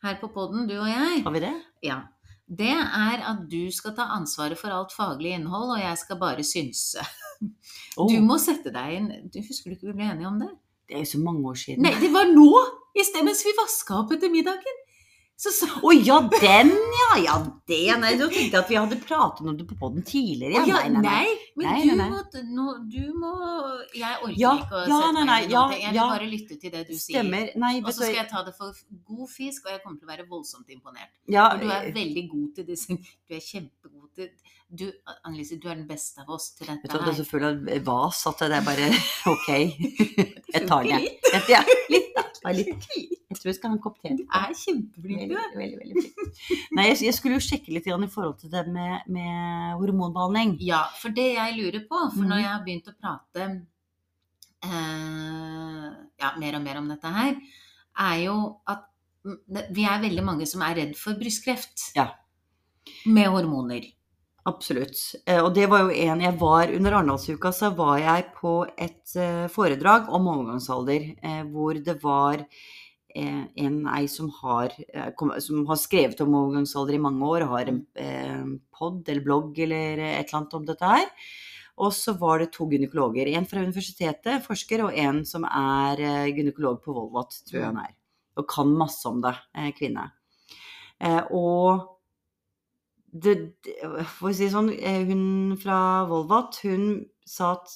[SPEAKER 2] her på poden, du og jeg,
[SPEAKER 1] Har vi det?
[SPEAKER 2] ja, det er at du skal ta ansvaret for alt faglig innhold, og jeg skal bare synse.
[SPEAKER 1] Åh.
[SPEAKER 2] Du må sette deg inn du, Husker du ikke vi ble enige om det?
[SPEAKER 1] Det er jo så mange år siden.
[SPEAKER 2] Nei, det var nå! I sted mens vi vaska opp etter middagen. Så sa
[SPEAKER 1] Å ja, den ja! Ja, det. Nei, da tenkte jeg at vi hadde pratet om det på podden tidligere.
[SPEAKER 2] Å ja, nei, men
[SPEAKER 1] Nei,
[SPEAKER 2] du,
[SPEAKER 1] nei, nei.
[SPEAKER 2] Må, nå- du må Jeg orker
[SPEAKER 1] Ja,
[SPEAKER 2] ikke å
[SPEAKER 1] ja, nei,
[SPEAKER 2] sette meg
[SPEAKER 1] nei,
[SPEAKER 2] inn i
[SPEAKER 1] ja,
[SPEAKER 2] noe. Jeg vil
[SPEAKER 1] ja.
[SPEAKER 2] bare lytte til det du sier.
[SPEAKER 1] Stemmer. Nei,
[SPEAKER 2] Og
[SPEAKER 1] vet
[SPEAKER 2] så skal
[SPEAKER 1] du
[SPEAKER 2] jeg ta det for god fisk, og jeg kommer til å være voldsomt imponert.
[SPEAKER 1] ja, eh,
[SPEAKER 2] For du er veldig god til disse Du er kjempegod det, du, Annelise, du er den beste av oss til
[SPEAKER 1] Vet
[SPEAKER 2] dette
[SPEAKER 1] du, det er
[SPEAKER 2] her.
[SPEAKER 1] så full av vas at det er bare ok. Jeg tar den, jeg.
[SPEAKER 2] Litt.
[SPEAKER 1] Ja, litt, da. Bare litt. Jeg tror jeg skal ha en kopp te.
[SPEAKER 2] Du er kjempeflink, du.
[SPEAKER 1] Veldig, veldig, veldig flink. Nei, jeg, jeg skulle jo sjekke litt grann i forhold til det med, med hormonbehandling.
[SPEAKER 2] Ja, for det jeg lurer på, for
[SPEAKER 1] Mhm.
[SPEAKER 2] når jeg har begynt å prate eh, ja, mer og mer om dette her, er jo at mm, det- vi er veldig mange som er redd for brystkreft
[SPEAKER 1] Ja.
[SPEAKER 2] med hormoner.
[SPEAKER 1] Absolutt. Eh, Og det var jo en jeg var under Arendalsuka, så var jeg på et eh, foredrag om overgangsalder, eh, hvor det var eh, en ei som har, eh, kom- som har skrevet om overgangsalder i mange år, har en eh, pod eller blogg eller eh, et eller annet om dette her. Og så var det to gynekologer. En fra universitetet, forsker, og en som er eh, gynekolog på Volvat, tror jeg han er. Og kan masse om det, eh, kvinne. Eh, Og det, det, for å si det sånn, eh, hun fra Volvat, hun sa at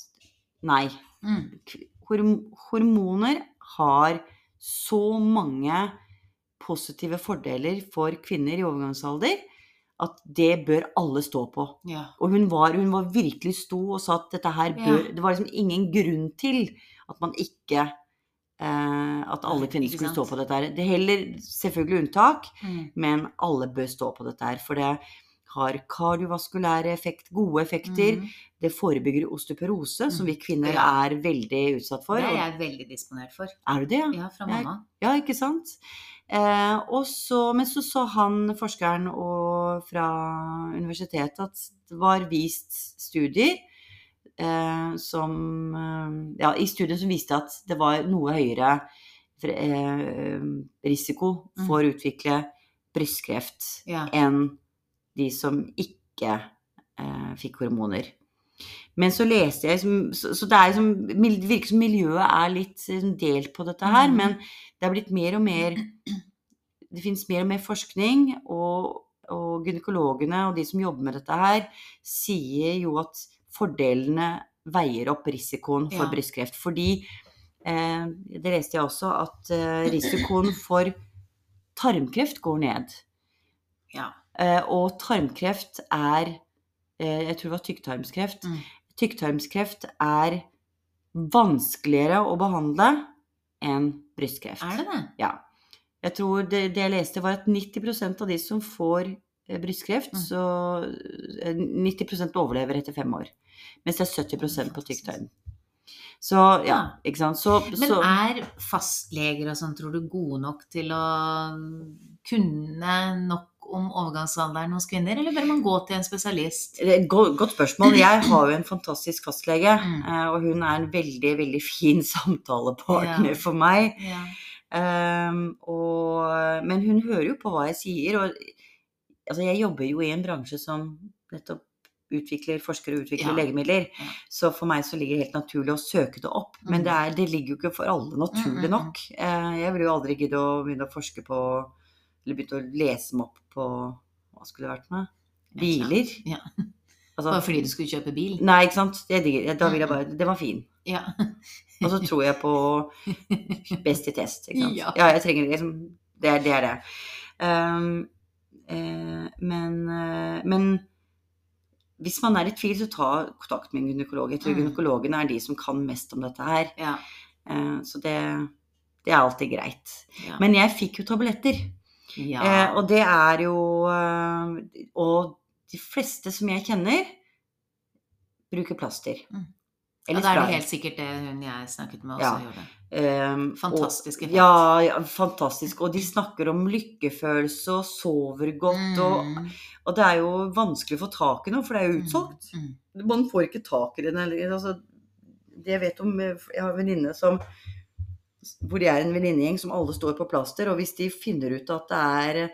[SPEAKER 1] nei,
[SPEAKER 2] Mm.
[SPEAKER 1] k- horm hormoner har så mange positive fordeler for kvinner i overgangsalder at det bør alle stå på.
[SPEAKER 2] Ja.
[SPEAKER 1] Og hun var, hun var virkelig sto og sa at dette her bør
[SPEAKER 2] Ja.
[SPEAKER 1] Det var liksom ingen grunn til at man ikke eh, At alle
[SPEAKER 2] Nei,
[SPEAKER 1] kvinner
[SPEAKER 2] ikke
[SPEAKER 1] skulle stå
[SPEAKER 2] sant.
[SPEAKER 1] på dette her. Det heller selvfølgelig unntak,
[SPEAKER 2] Mm.
[SPEAKER 1] men alle bør stå på dette her. For det har kardiovaskulære effekt, gode effekter.
[SPEAKER 2] Mhm.
[SPEAKER 1] Det forebygger osteoporose, som vi kvinner
[SPEAKER 2] Ja.
[SPEAKER 1] er veldig utsatt for.
[SPEAKER 2] Det er
[SPEAKER 1] og-
[SPEAKER 2] jeg veldig disponert for.
[SPEAKER 1] Er du det, ja?
[SPEAKER 2] Ja, fra
[SPEAKER 1] Jeg-
[SPEAKER 2] mamma.
[SPEAKER 1] Ja, ikke sant? Eh, og så, men så så han forskeren og, fra universitetet at det var vist studier eh, som eh, Ja, i studier som viste at det var noe høyere fre- eh, risiko for å utvikle brystkreft
[SPEAKER 2] Ja.
[SPEAKER 1] enn de som ikke eh, fikk hormoner. Men så leste jeg liksom- Så, så det er liksom, mil- det virker som miljøet er litt liksom, delt på dette her,
[SPEAKER 2] Mhm.
[SPEAKER 1] men det er blitt mer og mer Det finnes mer og mer forskning, og, og gynekologene og de som jobber med dette her, sier jo at fordelene veier opp risikoen for
[SPEAKER 2] Ja.
[SPEAKER 1] brystkreft. Fordi eh, Det leste jeg også, at eh, risikoen for tarmkreft går ned.
[SPEAKER 2] Ja.
[SPEAKER 1] Eh, og tarmkreft er eh, Jeg tror det var tykktarmskreft.
[SPEAKER 2] Mm.
[SPEAKER 1] Tykktarmskreft er vanskeligere å behandle enn brystkreft.
[SPEAKER 2] Er det det?
[SPEAKER 1] Ja. Jeg tror det, det jeg leste, var at 90 av de som får eh, brystkreft,
[SPEAKER 2] Mm.
[SPEAKER 1] så eh, 90 overlever etter fem år. Mens det er 70 på tykktarm. Så ja,
[SPEAKER 2] Ja.
[SPEAKER 1] ikke sant. Så,
[SPEAKER 2] Ah. Men
[SPEAKER 1] så
[SPEAKER 2] er fastleger og sånn, tror du, gode nok til å mm, kunne nok om overgangsalderen hos kvinner, eller bør man gå til en spesialist?
[SPEAKER 1] Det er et Eh, go- Godt spørsmål. Jeg har jo en fantastisk fastlege,
[SPEAKER 2] Mm.
[SPEAKER 1] eh, og hun er en veldig, veldig fin samtalepartner
[SPEAKER 2] Ja.
[SPEAKER 1] for meg.
[SPEAKER 2] Ja.
[SPEAKER 1] Ehm, og, men hun hører jo på hva jeg sier, og altså, jeg jobber jo i en bransje som nettopp utvikler, forsker og utvikler
[SPEAKER 2] Ja.
[SPEAKER 1] legemidler,
[SPEAKER 2] Ja.
[SPEAKER 1] så for meg så ligger det helt naturlig å søke det opp, men
[SPEAKER 2] Mm.
[SPEAKER 1] det, er, det ligger jo ikke for alle
[SPEAKER 2] Mm, mm,
[SPEAKER 1] naturlig
[SPEAKER 2] mm.
[SPEAKER 1] nok. Eh, jeg ville jo aldri gidde å begynne å forske på, eller begynne å lese meg opp på, hva skulle det vært med? Biler?
[SPEAKER 2] Ja.
[SPEAKER 1] Altså,
[SPEAKER 2] Bare fordi du skulle Mm, kjøpe bil?
[SPEAKER 1] Nei, ikke sant. Jeg digger, jeg- da vil jeg bare Den var fin.
[SPEAKER 2] Ja.
[SPEAKER 1] Og så tror jeg på best i test. Ikke sant?
[SPEAKER 2] Ja.
[SPEAKER 1] Ja. jeg trenger liksom Det er det. Er det. Ehm, eh, men, eh, men hvis man er i tvil, så ta kontakt med en gynekolog. Jeg tror
[SPEAKER 2] Mm.
[SPEAKER 1] gynekologene er de som kan mest om dette her.
[SPEAKER 2] ja.
[SPEAKER 1] Eh, så det, det er alltid greit.
[SPEAKER 2] ja.
[SPEAKER 1] Men jeg fikk jo tabletter.
[SPEAKER 2] ja.
[SPEAKER 1] Eh, og det er jo eh, Og de fleste som jeg kjenner, bruker plaster.
[SPEAKER 2] Mm.
[SPEAKER 1] Eller
[SPEAKER 2] ja, da er det
[SPEAKER 1] spray.
[SPEAKER 2] helt sikkert det hun jeg snakket med, også
[SPEAKER 1] Ja.
[SPEAKER 2] gjorde.
[SPEAKER 1] Ehm, Og,
[SPEAKER 2] Fantastisk effekt.
[SPEAKER 1] ja, ja, fantastisk. Og de snakker om lykkefølelse og sover godt. Og,
[SPEAKER 2] Mm,
[SPEAKER 1] og det er jo vanskelig å få tak i noe, for det er jo utsolgt.
[SPEAKER 2] mm, mm.
[SPEAKER 1] Man får ikke tak i den. eller- Altså, det jeg vet om eh, Jeg har en venninne som hvor de er en venninnegjeng som alle står på plaster, og hvis de finner ut at det er,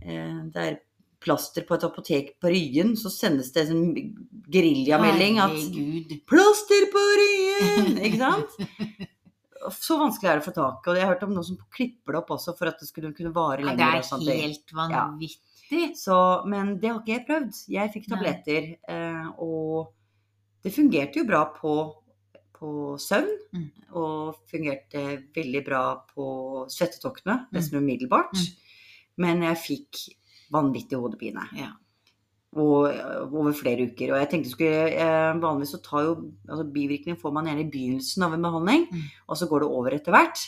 [SPEAKER 1] eh, det er plaster på et apotek på Ryen, så sendes det en sånn geriljamelding at
[SPEAKER 2] Herregud.
[SPEAKER 1] 'Plaster på Ryen!' Ikke sant? Så vanskelig er det å få tak i. Og jeg har hørt om noen som klipper det opp også for at det skulle kunne vare
[SPEAKER 2] Ja,
[SPEAKER 1] lenger.
[SPEAKER 2] det
[SPEAKER 1] og sånne
[SPEAKER 2] er
[SPEAKER 1] ting.
[SPEAKER 2] helt vanvittig.
[SPEAKER 1] Så, men det har ikke jeg prøvd. Jeg fikk
[SPEAKER 2] Nei.
[SPEAKER 1] tabletter, eh, og det fungerte jo bra på, på søvn.
[SPEAKER 2] Mm.
[SPEAKER 1] Og fungerte veldig bra på svettetoktene,
[SPEAKER 2] Mm.
[SPEAKER 1] nesten umiddelbart.
[SPEAKER 2] Mm.
[SPEAKER 1] Men jeg fikk vanvittig hodepine.
[SPEAKER 2] Ja.
[SPEAKER 1] og, eh, over flere uker. Og jeg tenkte skulle, eh, Vanligvis så tar jo altså bivirkninger får man gjerne i begynnelsen av en behandling,
[SPEAKER 2] Mm.
[SPEAKER 1] og så går det over etter hvert.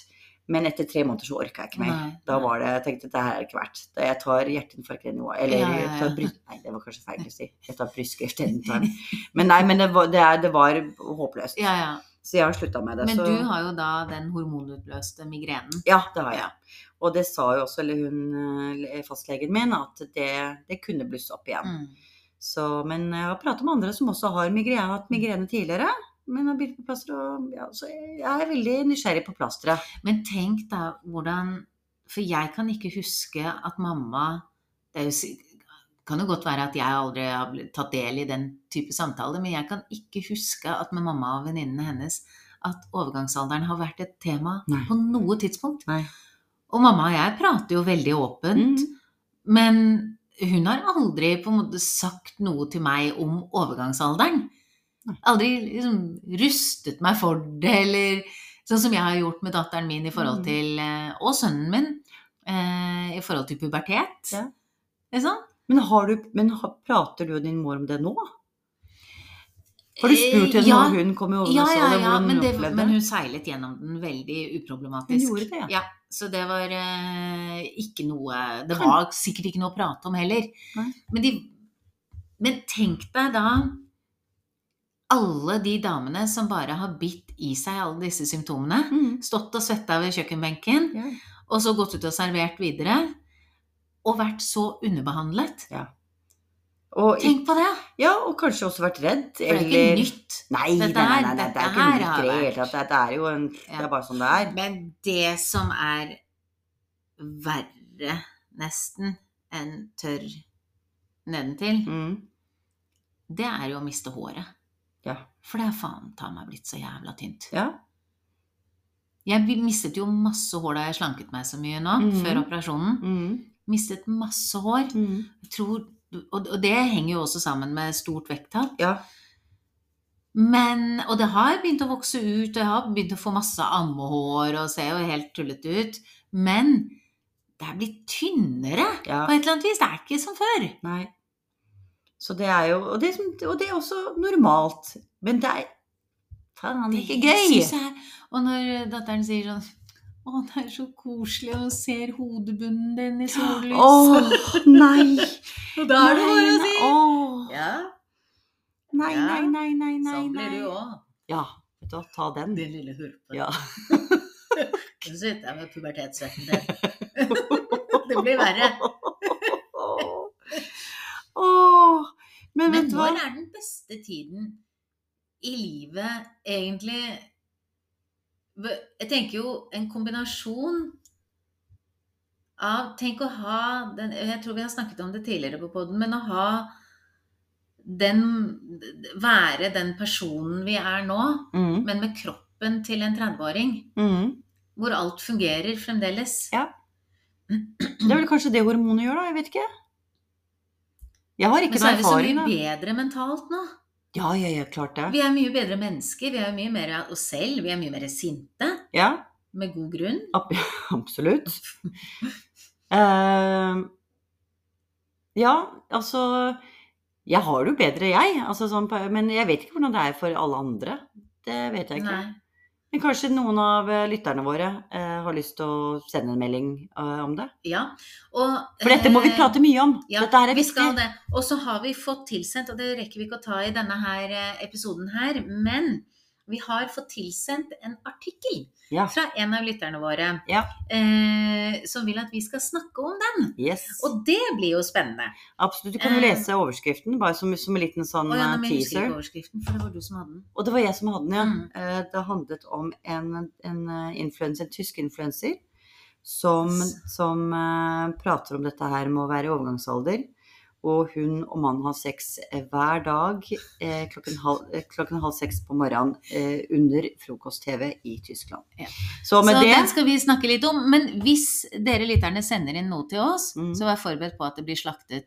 [SPEAKER 1] Men etter tre måneder så orka jeg ikke mer.
[SPEAKER 2] Nei,
[SPEAKER 1] Da
[SPEAKER 2] nei.
[SPEAKER 1] var det, jeg tenkte det her er ikke verdt. Da Jeg tar hjerteinfarktnivå Eller
[SPEAKER 2] Ja, ja, ja.
[SPEAKER 1] jeg tar bry Nei, det var kanskje feil å si. Jeg tar brystkreft istedenfor. Men nei, men det var, det er, det var håpløst.
[SPEAKER 2] Ja, ja.
[SPEAKER 1] Så jeg har slutta med det.
[SPEAKER 2] Men
[SPEAKER 1] så...
[SPEAKER 2] du har jo da den hormonutløste migrenen.
[SPEAKER 1] Ja, det har jeg. Og det sa jo også eller hun, eh, fastlegen min at det, det kunne blusse opp igjen.
[SPEAKER 2] Mm.
[SPEAKER 1] Så, men jeg har pratet med andre som også har migrene, hatt migrene tidligere. Men har begynt på plaster, og ja, så jeg er veldig nysgjerrig på plasteret.
[SPEAKER 2] Men tenk da hvordan For jeg kan ikke huske at mamma Det er jo, si- kan jo godt være at jeg aldri har bl- tatt del i den type samtaler, men jeg kan ikke huske at med mamma og venninnene hennes at overgangsalderen har vært et tema
[SPEAKER 1] Nei.
[SPEAKER 2] på noe tidspunkt.
[SPEAKER 1] Nei.
[SPEAKER 2] Og mamma og jeg prater jo veldig åpent,
[SPEAKER 1] Mm.
[SPEAKER 2] men hun har aldri på en måte sagt noe til meg om overgangsalderen.
[SPEAKER 1] Nei.
[SPEAKER 2] Aldri liksom rustet meg for det, eller sånn som jeg har gjort med datteren min i forhold
[SPEAKER 1] Mm.
[SPEAKER 2] til eh, Og sønnen min. eh, I forhold til pubertet.
[SPEAKER 1] Ja.
[SPEAKER 2] Ikke sant?
[SPEAKER 1] Men, har du, men har, prater du og din mor om det nå? Har du spurt
[SPEAKER 2] Eh,
[SPEAKER 1] henne
[SPEAKER 2] ja.
[SPEAKER 1] når hun kom i
[SPEAKER 2] Ja, ja,
[SPEAKER 1] overgangsalderen,
[SPEAKER 2] ja,
[SPEAKER 1] hvordan
[SPEAKER 2] men,
[SPEAKER 1] hun
[SPEAKER 2] det,
[SPEAKER 1] opplevde
[SPEAKER 2] men
[SPEAKER 1] det?
[SPEAKER 2] hun seilet gjennom den veldig
[SPEAKER 1] Hun
[SPEAKER 2] uproblematisk.
[SPEAKER 1] gjorde det, ja.
[SPEAKER 2] så det var eh, ikke noe Det
[SPEAKER 1] Kan-
[SPEAKER 2] var sikkert ikke noe å prate om heller.
[SPEAKER 1] Nei.
[SPEAKER 2] Men, de, men tenk deg da alle de damene som bare har bitt i seg alle disse symptomene.
[SPEAKER 1] Mm.
[SPEAKER 2] Stått og svetta ved kjøkkenbenken,
[SPEAKER 1] Ja.
[SPEAKER 2] og så gått ut og servert videre. Og vært så underbehandlet.
[SPEAKER 1] Og,
[SPEAKER 2] Tenk på det!
[SPEAKER 1] ja, og kanskje også vært redd.
[SPEAKER 2] For det er
[SPEAKER 1] eller-
[SPEAKER 2] ikke nytt.
[SPEAKER 1] Nei, nei,
[SPEAKER 2] Dette
[SPEAKER 1] nei, nei,
[SPEAKER 2] her-
[SPEAKER 1] nei, det er
[SPEAKER 2] dette
[SPEAKER 1] ikke
[SPEAKER 2] her
[SPEAKER 1] nytt i
[SPEAKER 2] har
[SPEAKER 1] det hele
[SPEAKER 2] vært-
[SPEAKER 1] tatt. Det er jo en Det
[SPEAKER 2] Ja.
[SPEAKER 1] er bare sånn det er.
[SPEAKER 2] Men det som er verre, nesten, enn tørr nedentil,
[SPEAKER 1] Mm.
[SPEAKER 2] det er jo å miste håret.
[SPEAKER 1] Ja.
[SPEAKER 2] For det er faen ta meg blitt så jævla tynt.
[SPEAKER 1] ja.
[SPEAKER 2] Jeg mistet jo masse hår da jeg slanket meg så mye nå,
[SPEAKER 1] Mhm.
[SPEAKER 2] før operasjonen.
[SPEAKER 1] Mm.
[SPEAKER 2] Mistet masse hår.
[SPEAKER 1] Mm.
[SPEAKER 2] Jeg tror, og, og det henger jo også sammen med stort vekttap.
[SPEAKER 1] Ja.
[SPEAKER 2] Men, og det har begynt å vokse ut, og jeg har begynt å få masse ammehår og ser jo helt tullete ut. Men det er blitt tynnere
[SPEAKER 1] ja.
[SPEAKER 2] på et eller annet vis. Det er ikke som før.
[SPEAKER 1] Nei. Så det er jo Og det, er som- og det er også normalt. Men det er faen ikke gøy!
[SPEAKER 2] synes jeg er- Og når datteren sier sånn Å, det er så koselig, og ser hodebunnen din i sollys.
[SPEAKER 1] Åh, nei!
[SPEAKER 2] og da er det bare
[SPEAKER 1] Nei,
[SPEAKER 2] å si
[SPEAKER 1] åh.
[SPEAKER 2] Ja,
[SPEAKER 1] Nei,
[SPEAKER 2] Ja.
[SPEAKER 1] nei, nei, nei, nei.
[SPEAKER 2] sånn blir
[SPEAKER 1] nei.
[SPEAKER 2] det jo òg.
[SPEAKER 1] Ja, vet du hva, ta den.
[SPEAKER 2] Din lille hurpe.
[SPEAKER 1] Ja.
[SPEAKER 2] Så sitter jeg med pubertetssvetten din. det blir verre.
[SPEAKER 1] Åh. Men
[SPEAKER 2] Men
[SPEAKER 1] vet du
[SPEAKER 2] når
[SPEAKER 1] hva?
[SPEAKER 2] er den beste tiden i livet egentlig Jeg tenker jo en kombinasjon av Tenk å ha den Jeg tror vi har snakket om det tidligere på poden, men å ha den Være den personen vi er nå,
[SPEAKER 1] Mm,
[SPEAKER 2] men med kroppen til en 30-åring.
[SPEAKER 1] mm.
[SPEAKER 2] Hvor alt fungerer fremdeles.
[SPEAKER 1] Ja. Det er vel kanskje det hormonet gjør, da? Jeg vet ikke. Jeg har
[SPEAKER 2] Men
[SPEAKER 1] ikke
[SPEAKER 2] så
[SPEAKER 1] noen
[SPEAKER 2] er vi så
[SPEAKER 1] erfaring.
[SPEAKER 2] mye
[SPEAKER 1] da.
[SPEAKER 2] bedre mentalt nå.
[SPEAKER 1] Ja, ja, ja, klart det.
[SPEAKER 2] Vi er mye bedre mennesker. Vi er mye mer av oss selv. Vi er mye mer sinte.
[SPEAKER 1] Ja.
[SPEAKER 2] Med god grunn.
[SPEAKER 1] Ab- Absolutt. Eh, ja, altså Jeg har det jo bedre, jeg. Altså, sånn, på- men jeg vet ikke hvordan det er for alle andre. Det vet jeg ikke.
[SPEAKER 2] Nei.
[SPEAKER 1] Men kanskje noen av eh, lytterne våre eh, har lyst til å sende en melding eh, om det.
[SPEAKER 2] Ja. Og,
[SPEAKER 1] For dette må vi
[SPEAKER 2] eh,
[SPEAKER 1] prate mye om.
[SPEAKER 2] ja,
[SPEAKER 1] dette her er
[SPEAKER 2] vi
[SPEAKER 1] viktig.
[SPEAKER 2] skal det. Og så har vi fått tilsendt, og det rekker vi ikke å ta i denne her eh, episoden her, men vi har fått tilsendt en artikkel
[SPEAKER 1] Ja.
[SPEAKER 2] fra en av lytterne våre
[SPEAKER 1] Ja.
[SPEAKER 2] eh, som vil at vi skal snakke om den.
[SPEAKER 1] Yes.
[SPEAKER 2] Og det blir jo spennende.
[SPEAKER 1] Absolutt. Du kan jo
[SPEAKER 2] eh,
[SPEAKER 1] lese overskriften, bare som, som en liten sånn
[SPEAKER 2] Og ja,
[SPEAKER 1] eh,
[SPEAKER 2] men jeg husker
[SPEAKER 1] teaser.
[SPEAKER 2] ikke overskriften, for det var du som hadde den.
[SPEAKER 1] Og det var jeg som hadde den, ja.
[SPEAKER 2] Mm.
[SPEAKER 1] Eh, Det handlet om en, en eh, influencer, en tysk influenser som,
[SPEAKER 2] S-
[SPEAKER 1] som eh, prater om dette her med å være i overgangsalder. Og hun og mannen har sex eh, hver dag eh, klokken, halv, eh, klokken halv seks på morgenen eh, under frokost-TV i Tyskland.
[SPEAKER 2] Ja.
[SPEAKER 1] Så med
[SPEAKER 2] så
[SPEAKER 1] det
[SPEAKER 2] den skal vi snakke litt om. Men hvis dere lytterne sender inn noe til oss,
[SPEAKER 1] Mm.
[SPEAKER 2] så vær forberedt på at det blir slaktet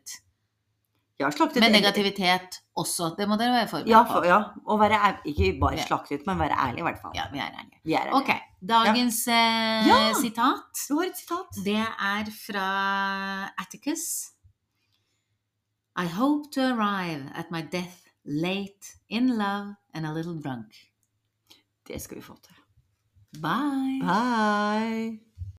[SPEAKER 1] Jeg har slaktet
[SPEAKER 2] med negativitet også. Det må dere være forberedt
[SPEAKER 1] Ja, for,
[SPEAKER 2] på.
[SPEAKER 1] ja, og være ær- ikke bare
[SPEAKER 2] Ja.
[SPEAKER 1] slaktet, men være ærlig, i hvert fall.
[SPEAKER 2] Ja, vi er ærlige.
[SPEAKER 1] Vi er ærlige.
[SPEAKER 2] Ok. Dagens eh,
[SPEAKER 1] Ja.
[SPEAKER 2] sitat,
[SPEAKER 1] Du har et sitat.
[SPEAKER 2] det er fra Atticus. I hope to arrive at my death late, in love and a little drunk.
[SPEAKER 1] Det skal vi få til.
[SPEAKER 2] Bye.
[SPEAKER 1] Bye!